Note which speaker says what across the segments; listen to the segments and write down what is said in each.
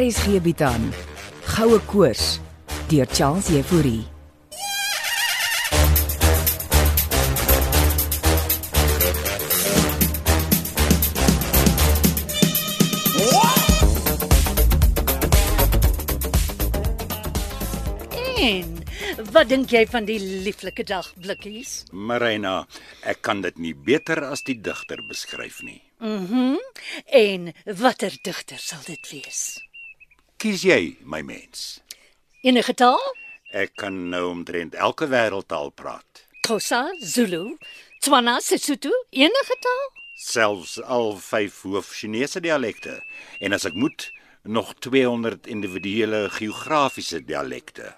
Speaker 1: RSG bied aan Goue Koors deur Charles Euphorie.
Speaker 2: En wat dink jy van die lieflike dagblikkies?
Speaker 3: Marina, ek kan dit nie beter as die digter beskryf nie.
Speaker 2: En watter digter sal dit wees?
Speaker 3: Kies jy, my mens.
Speaker 2: Enige taal?
Speaker 3: Ek kan nou omtrent elke wêreldtaal praat,
Speaker 2: Xhosa, Zulu, Tswana, Sesotho, enige taal?
Speaker 3: selfs al vyf hoof-Chinese dialekte en as ek moet, nog 200 individuele geografiese dialekte.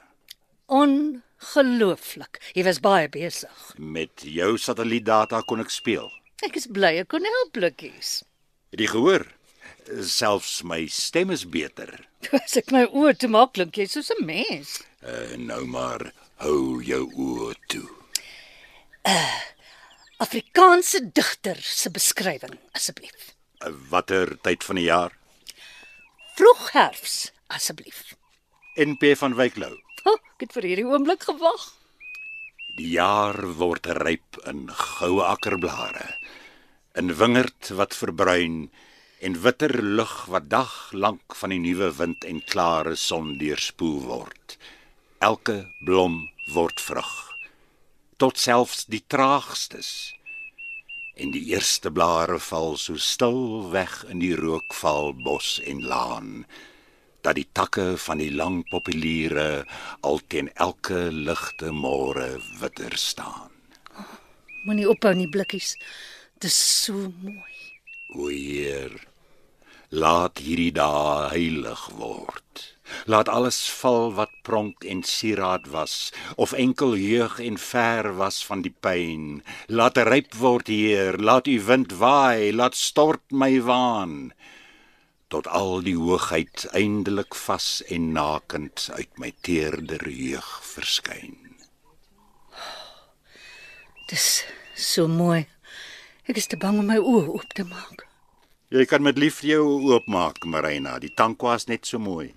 Speaker 2: Ongelooflik. Jy was baie besig.
Speaker 3: Met jou satellietdata kon ek speel.
Speaker 2: Ek is bly ek kon help blikkies.
Speaker 3: Het jy gehoor? Selfs my stem is beter.
Speaker 2: As ek my oë toe maak, klink jy soos 'n mens.
Speaker 3: Uh, nou maar hou jou oë toe.
Speaker 2: Afrikaanse digter se beskrywing asseblief.
Speaker 3: Uh, Watter tyd van die jaar?
Speaker 2: Vroeg herfs asseblief.
Speaker 3: NP van Wyklou.
Speaker 2: O, oh, ek het vir hierdie oomblik gewag.
Speaker 3: Die jaar word ryp in goue akkerblare, in wingerd wat verbruin en witter lug wat dag lank van die nuwe wind en klare son deurspoel word. Elke blom word vrug, tot selfs die traagstes. En die eerste blare val so stil weg in die rookval bos en laan dat die takke van die lang populiere al teen elke ligte môre witter staan.
Speaker 2: Moenie ophou nie blikkies. Dis so mooi.
Speaker 3: O Heer, laat hierdie dae heilig word. Laat alles val wat pronk en sieraad was of enkel jeug en ver was van die pyn. Laat ryp word, Heer, laat u wind waai, laat stort my waan tot al die hoogheid eindelik vas en nakend uit my teerder jeug verskyn.
Speaker 2: Dis so mooi. Ek is te bang om my oë oop te maak.
Speaker 3: Jy kan met liefde jou oopmaak, Marina. Die tankwa's net so mooi.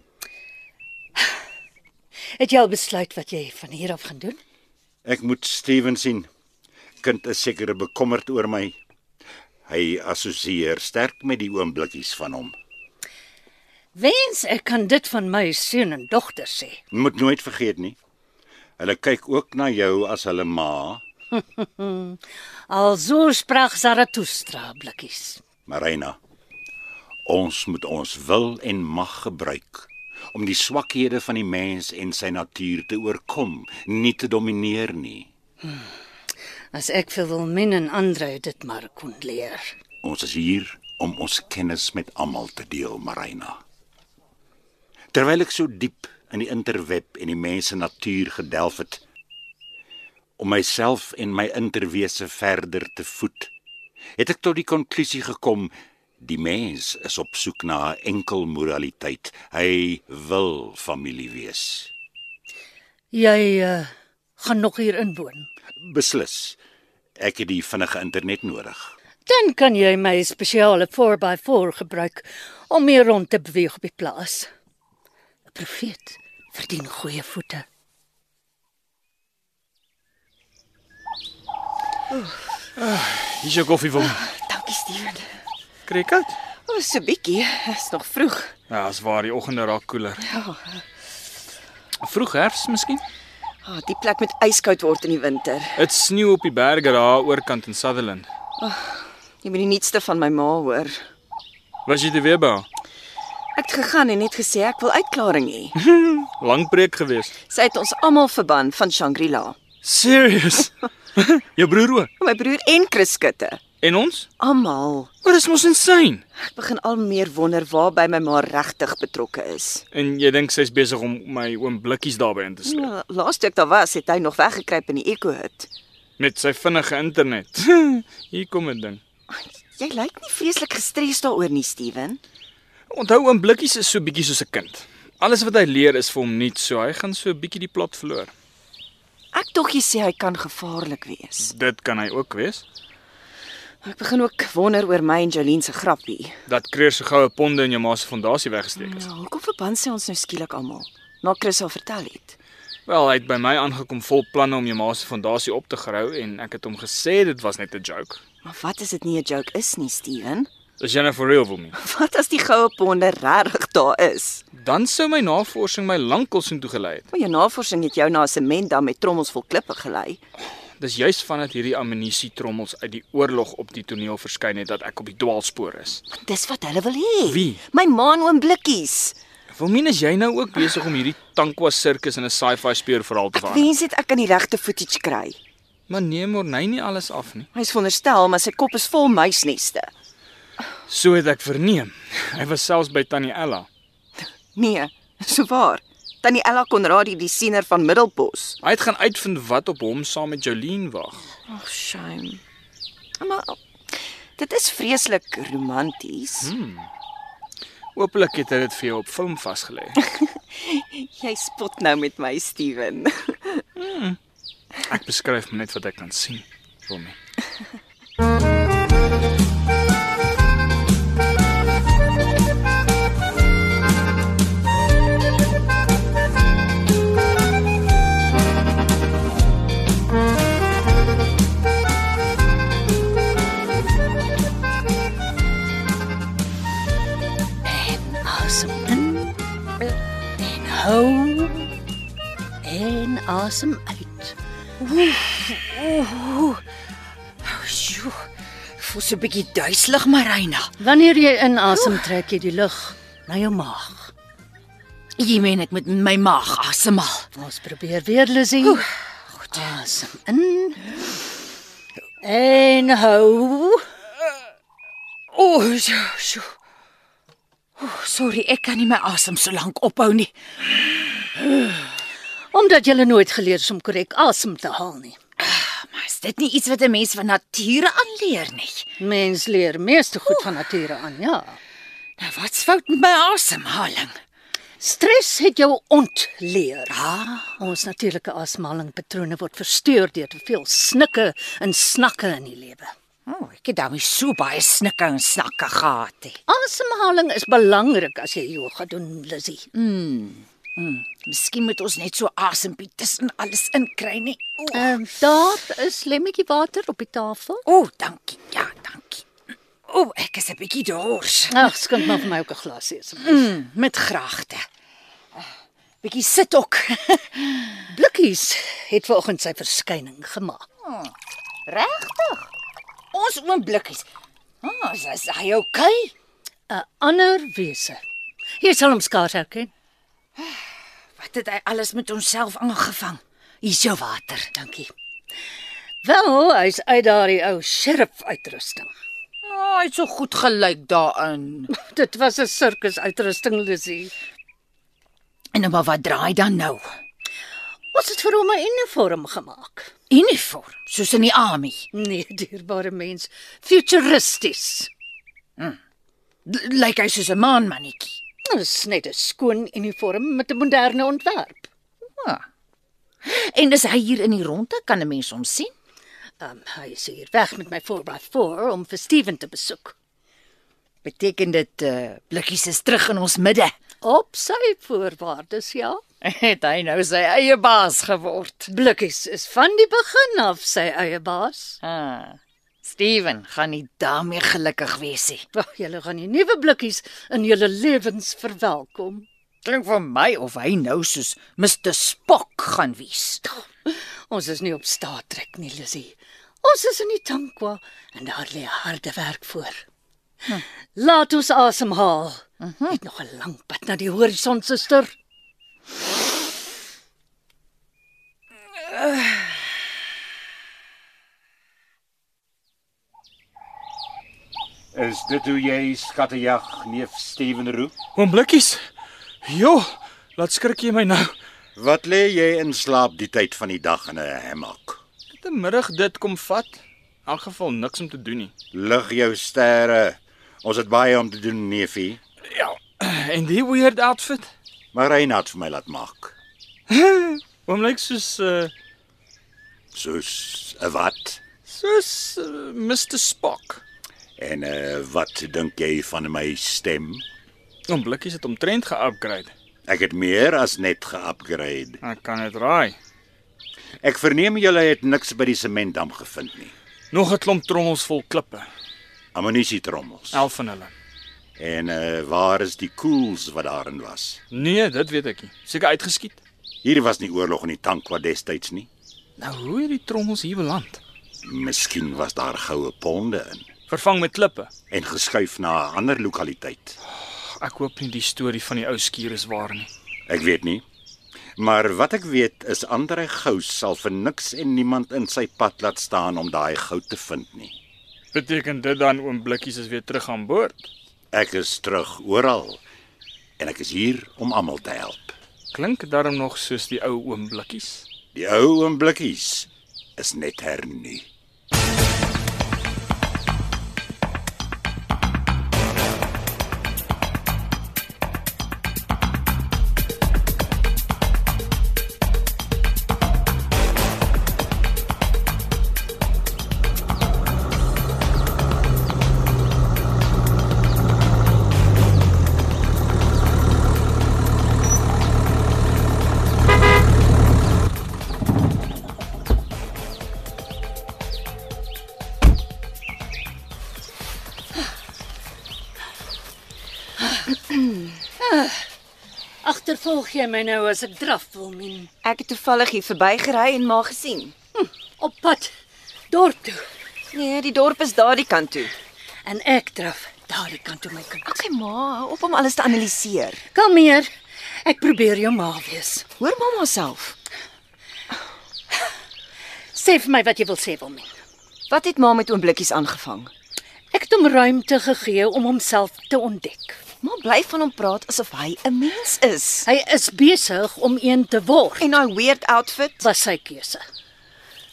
Speaker 2: Het jy al besluit wat jy van hier af gaan doen?
Speaker 3: Ek moet Steven sien. Kind is seker bekommerd oor my. Hy assosieer sterk met die oomblikkies van hom.
Speaker 2: Wens ek kan dit van my seun en dogter sê.
Speaker 3: Moet nooit vergeet nie. Hulle kyk ook na jou as hulle ma,
Speaker 2: Al so sprak Zarathustra blikkies.
Speaker 3: Marina. Ons moet ons wil en mag gebruik om die swakhede van die mens en sy natuur te oorkom, nie te domineer nie.
Speaker 2: As ek vir Wilmin en Andre dit maar kon leer.
Speaker 3: Ons is hier om ons kennis met almal te deel, Marina. Terwyl ek so diep in die interweb en die mens se natuur gedelf het om myself en my interwese verder te voed, het ek tot die konklusie gekom die mens is op soek na 'n enkel moraliteit. Hy wil familie wees.
Speaker 2: Jy uh, gaan nog hier inwoon.
Speaker 3: Beslis. Ek het die vinnige internet nodig.
Speaker 2: Dan kan jy my spesiale 4x4 gebruik om meer rond te beweeg op die plaas. 'n Profeet verdien goeie voete.
Speaker 4: Hier is jou koffie vir.
Speaker 5: Dankie Steven.
Speaker 4: Kry ek dit?
Speaker 5: Ons so bietjie, is nog vroeg.
Speaker 4: Ja, as waar die oggende raak koeler. Ja. Vroeg herfs miskien.
Speaker 5: Ah, die plek moet yskoud word in die winter.
Speaker 4: Dit sneeu op die berge daar oorkant in Sutherland.
Speaker 5: Jy moet die nuutste van my ma hoor.
Speaker 4: Was jy te weer by? haar?
Speaker 5: Ek het gegaan en net gesê ek wil uitklaring hê.
Speaker 4: Lang preek gewees.
Speaker 5: Sy het ons almal verban van Shangri-La.
Speaker 4: Serious? jou broer ook.
Speaker 5: My broer en Chris Skutte.
Speaker 4: En ons?
Speaker 5: Almal.
Speaker 4: Maar dis mos insane.
Speaker 5: Ek begin al meer wonder waarby my ma regtig betrokke is.
Speaker 4: En jy dink sy's besig om my oom blikkies daarbey in te sleep
Speaker 5: Ja, laas toe ek daar was, het hy nog weggekruip in die Echo Hut.
Speaker 4: met sy vinnige internet. Hier kom 'n ding.
Speaker 5: Jy lyk nie vreeslik gestres daaroor nie, Steven.
Speaker 4: Onthou oom blikkies is so bietjie soos 'n kind. Alles wat hy leer is vir hom nuut, so hy gaan so bietjie die plot verloor.
Speaker 5: Ek dog jy sê hy kan gevaarlik wees.
Speaker 4: Dit kan hy ook wees.
Speaker 5: Ek begin ook wonder oor my en Jolene se grappie.
Speaker 4: Dat kreur se goue ponde in jou ma se fondasie weggesteek is.
Speaker 5: Ja, hoekom verband sy ons nou skielik almal? Na Chris al vertel het.
Speaker 4: Wel, hy het by my aangekom vol planne om jou ma se fondasie op te grou en ek het hom gesê dit was net 'n joke.
Speaker 5: Maar wat as dit nie 'n joke is nie, Steven?
Speaker 4: Is jy nou for real vir my?
Speaker 5: Wat as die goue ponde regtig daar is?
Speaker 4: Dan sou my navorsing my lankal soontoe gelei het.
Speaker 5: Maar jou navorsing het jou na 'n sementdam met trommels vol klippe gelei.
Speaker 4: Dis juis vandat hierdie amnisie trommels uit die oorlog op die toneel verskyn het dat ek op die dwaalspoor is.
Speaker 5: Want dis wat hulle wil hê.
Speaker 4: Wie?
Speaker 5: My ma en oom Blikkies.
Speaker 4: Wilmien, is jy nou ook besig om hierdie tankwa sirkus in 'n sci-fi speurverhaal te
Speaker 5: Ek
Speaker 4: verander?
Speaker 5: wens dit ek kan die regte footage kry.
Speaker 4: Maar nee, Morney nie alles af nie.
Speaker 5: Hy's veronderstel, maar sy kop is vol muisneste.
Speaker 4: So het ek verneem. Hy was selfs by Tannie Ella.
Speaker 5: Nee, so waar. Tannie Ella Konradi, die siener van Middelbos.
Speaker 4: Hy het gaan uitvind wat op hom saam met Jolene wag.
Speaker 5: Ag, shame. Maar dit is vreeslik romanties. Hm?
Speaker 4: Hoopelik het hy dit vir jou op film vasgelê.
Speaker 5: Jy spot nou met my, Steven.
Speaker 4: Ek beskryf maar net wat ek kan sien. Wilmien.
Speaker 2: Asem in en hou en asem uit.
Speaker 6: Sjoe. Ek voel so 'n bietjie duiselig, Marina.
Speaker 2: Wanneer jy inasem, trek jy die lug na jou maag.
Speaker 6: Jy meen ek moet my maag asemhaal.
Speaker 2: Ons probeer weer, Lizzie. Goed. Asem in en hou.
Speaker 6: O, oh, sjoe, sjoe. Oh, sorry, ek kan nie my asem so lank ophou nie.
Speaker 2: Omdat jy nooit geleer het om korrek asem te haal nie.
Speaker 6: Maar is dit nie iets wat 'n mens van nature aanleer nie?
Speaker 2: Mens leer meeste goed van nature aan, ja.
Speaker 6: Nou wat's fout met my asemhaling?
Speaker 2: Stres het jou ontleer. Ah. Ons natuurlike asemhalingpatrone word versteur deur te veel snikke en snakke in die lewe.
Speaker 6: O, oh, ek het daarmee so baie snikke en snakke gehad. He.
Speaker 2: Asemhaling is belangrik as jy yoga doen, Lizzie.
Speaker 6: Miskien moet ons net so asempie tussen alles inkry nie. O, oh,
Speaker 2: Ehm daar is lemmetjie water op die tafel.
Speaker 6: oh, dankie. Ja, dankie. O, oh, ek is 'n bietjie dors.
Speaker 2: Ag, skink maar vir my ook 'n glasie asseblief.
Speaker 6: Mm, met graagte. Bietjie sit ook.
Speaker 2: Blikkies het vanoggend sy verskyning gemaak.
Speaker 6: Regtig? Ons oom blikkies. Ah, is, is hy okay?
Speaker 2: 'n Ander wese. Jy sal hom skaars herken.
Speaker 6: Wat het hy alles met homself aangevang? Hier's jou water. Dankie.
Speaker 2: Wel, hy's uit daardie ou sheriff uitrusting.
Speaker 6: O, oh, hy't so goed gelyk daarin.
Speaker 2: Dit was 'n sirkus uitrusting, Lizzie.
Speaker 6: En nou maar wat draai dan nou?
Speaker 2: Ons het vir hom 'n uniform gemaak.
Speaker 6: Uniform, soos in die army.
Speaker 2: Nee, dierbare mens, futuristies.
Speaker 6: L- Lyk hy soos 'n maanmannetjie.
Speaker 2: Dit is net 'n skoon uniform met 'n moderne ontwerp.
Speaker 6: En as hy hier in die ronde kan 'n mens hom sien.
Speaker 2: Um, hy is hier weg met my 4x4 om vir Steven te besoek.
Speaker 6: Beteken dit eh uh, blikkies is terug in ons midde.
Speaker 2: Op sy voorwaardes, ja.
Speaker 6: Het hy nou sy eie baas geword.
Speaker 2: Blikkies is van die begin af sy eie baas.
Speaker 6: Ah. Steven gaan nie daarmee gelukkig wees nie.
Speaker 2: Wag, julle gaan die nuwe blikkies in julle lewens verwelkom.
Speaker 6: Klink vir my of hy nou soos Mr Spock gaan wees.
Speaker 2: Ons is nie op staat trek nie, Lissy. Ons is in die tankwa en daar lê harde werk voor. Hm. Laat ons asemhaal. Dit uh -huh. nog 'n lang pad na die horison, suster.
Speaker 3: Is dit hoe jy skattejag neef Steven roep?
Speaker 4: Oom Blikkies. Jo, laat skrik jy my nou.
Speaker 3: Wat lê jy in slaap die tyd van die dag in 'n hemmak?
Speaker 4: Ek het 'n middag dit kom vat. In elk geval niks om te doen nie.
Speaker 3: Lig jou sterre. Ons het baie om te doen, neefie.
Speaker 4: Ja. En die weird outfit.
Speaker 3: Maar Reinhard het vir my laat maak.
Speaker 4: Oom lyk soos uh
Speaker 3: Soos 'n wat?
Speaker 4: soos uh, Mr eh, Spock.
Speaker 3: En uh, wat dink jy van my stem?
Speaker 4: Oom Blikkies het omtrent ge-upgrade.
Speaker 3: Ek het meer as net ge-upgrade.
Speaker 4: Ek kan dit raai.
Speaker 3: Ek verneem julle het niks by die sementdam gevind nie.
Speaker 4: Nog 'n klomp trommels vol klippe,
Speaker 3: Ammunisie trommels.
Speaker 4: 11 van hulle.
Speaker 3: En uh, waar is die koels wat daarin was?
Speaker 4: Nee, dit weet ek nie. Seker uitgeskiet.
Speaker 3: Hier was nie oorlog in die tank wat destyds nie.
Speaker 4: Nou hoe het die trommels hier beland?
Speaker 3: Miskien was daar goue ponde in
Speaker 4: Vervang met klippe.
Speaker 3: en geskuif na 'n ander lokaliteit.
Speaker 4: Ek hoop nie die storie van die ou skuur is waar nie.
Speaker 3: Ek weet nie. Maar wat ek weet is Andre Gous sal vir niks en niemand in sy pad laat staan om daai goud te vind nie.
Speaker 4: Beteken dit dan oom Blikkies is weer terug aan boord?
Speaker 3: Ek is terug oral en ek is hier om almal te help.
Speaker 4: Klink darm nog soos die ou oom Blikkies.
Speaker 3: Die ou en blikkies is net hernie.
Speaker 2: Agtervolg jy my nou as ek draf wil min
Speaker 5: Ek het toevallig hier verbygery en maar gesien.
Speaker 2: op pad dorp toe
Speaker 5: Nee, die dorp is daardie kant toe.
Speaker 2: en ek draf daardie kant toe my kind.
Speaker 5: Okay, ma, hou op om alles te analiseer.
Speaker 2: Kom hier. Ek probeer jou ma wees.
Speaker 5: Hoor mamma self.
Speaker 2: Sê vir my wat jy wil sê wil min.
Speaker 5: Wat het ma met oom Blikkies aangevang?
Speaker 2: Ek het hom ruimte gegee om homself te ontdek.
Speaker 5: Ma bly van hom praat asof hy 'n mens is.
Speaker 2: Hy is besig om een te word.
Speaker 5: En daai weird outfit,
Speaker 2: was sy keuse.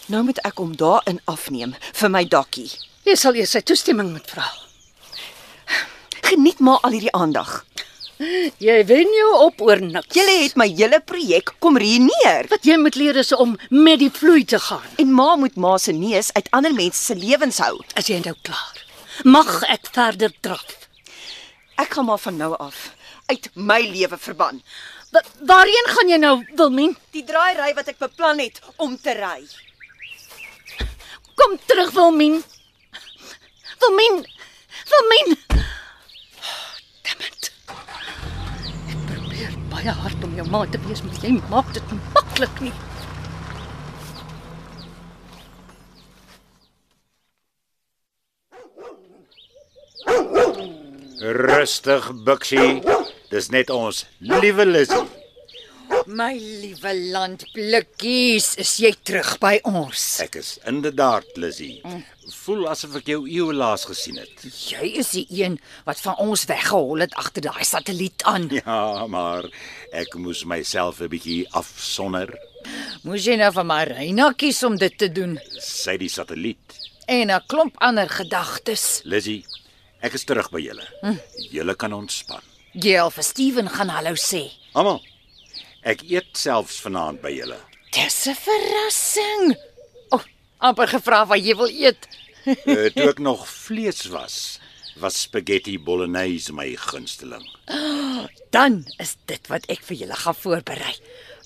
Speaker 5: nou moet ek hom daarin afneem vir my dakkie.
Speaker 2: Jy sal eers sy toestemming moet vra.
Speaker 5: Geniet maar al hierdie aandag.
Speaker 2: Jy wen jou op oor niks.
Speaker 5: Julle het my hele projek kom ruïneer.
Speaker 2: wat jy moet leer is om met die vloei te gaan.
Speaker 5: En ma moet ma se neus uit ander mense se lewens hou.
Speaker 2: As jy nou klaar. Mag ek verder draf?
Speaker 5: Ek gaan maar van nou af uit my lewe verban.
Speaker 2: Wa waarheen gaan jy nou, Wilmien?
Speaker 5: Die draaiery wat ek beplan het om te ry.
Speaker 2: Kom terug, Wilmien. Wilmien. Wilmien. Oh, damn it. Ek probeer baie hard om jou ma te wees, maar jy maak dit nie maklik nie.
Speaker 3: Rustig, Bixie. Dis net ons liewe Lizzie.
Speaker 6: My liewe landblikkies, is jy terug by ons?
Speaker 3: Ek is inderdaad Lizzie. Voel asof ek jou eeue laas gesien het.
Speaker 6: Jy is die een wat van ons weggehol het agter daai satelliet aan.
Speaker 3: Ja, maar ek moes myself 'n bietjie afsonder.
Speaker 6: Moes jy nou van Marina kies om dit te doen
Speaker 3: Sy die satelliet.
Speaker 6: en 'n klomp ander gedagtes.
Speaker 3: Lizzie, ek is terug by julle. Julle kan ontspan.
Speaker 6: Jy al vir Steven gaan hallo sê.
Speaker 3: Almal. Ek eet selfs vanaand by julle.
Speaker 6: Dis 'n verrassing. O, oh, amper gevra wat jy wil eet.
Speaker 3: Uh, toe ek nog vlees was, was spaghetti bolognese my gunsteling.
Speaker 6: Dan is dit wat ek vir julle gaan voorberei.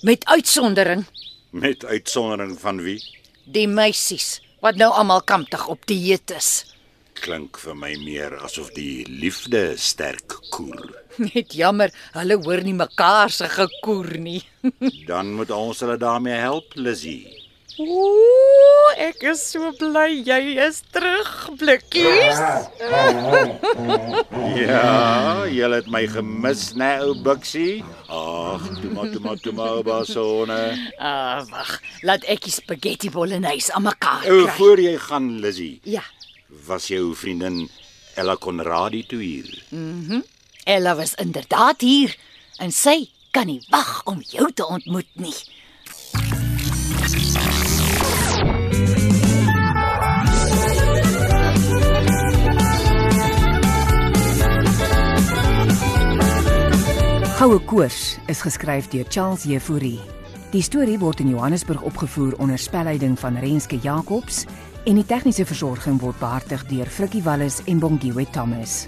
Speaker 6: Met uitsondering
Speaker 3: Met uitsondering van wie?
Speaker 6: die meisies wat nou almal kamptig op dieet is.
Speaker 3: klink vir my meer asof die liefde sterk koer.
Speaker 6: Net jammer, hulle hoor nie mekaar se gekoer nie.
Speaker 3: Dan moet ons hulle daarmee help, Lizzie.
Speaker 6: Ooh, ek is so bly jy is terug, blikkies.
Speaker 3: Ja, jy het my gemis, né, ou Bixie? Ag, toe maar, toe maar, toe maar, basone.
Speaker 6: Ah, wag, laat ek die spaghetti bolognese aan mekaar
Speaker 3: Ou
Speaker 6: kry.
Speaker 3: voor jy gaan, Lizzie,
Speaker 6: Ja,
Speaker 3: was jou vriendin Ella Conradi toe hier.
Speaker 6: Ella was inderdaad hier en sy kan nie wag om jou te ontmoet nie.
Speaker 1: Goue Koors is geskryf deur Charles Jefouri. Die storie word in Johannesburg opgevoer onder spelleiding van Renske Jacobs
Speaker 6: en die tegniese versorging word behartig deur Frikkie Wallis en Bongwe Thomas.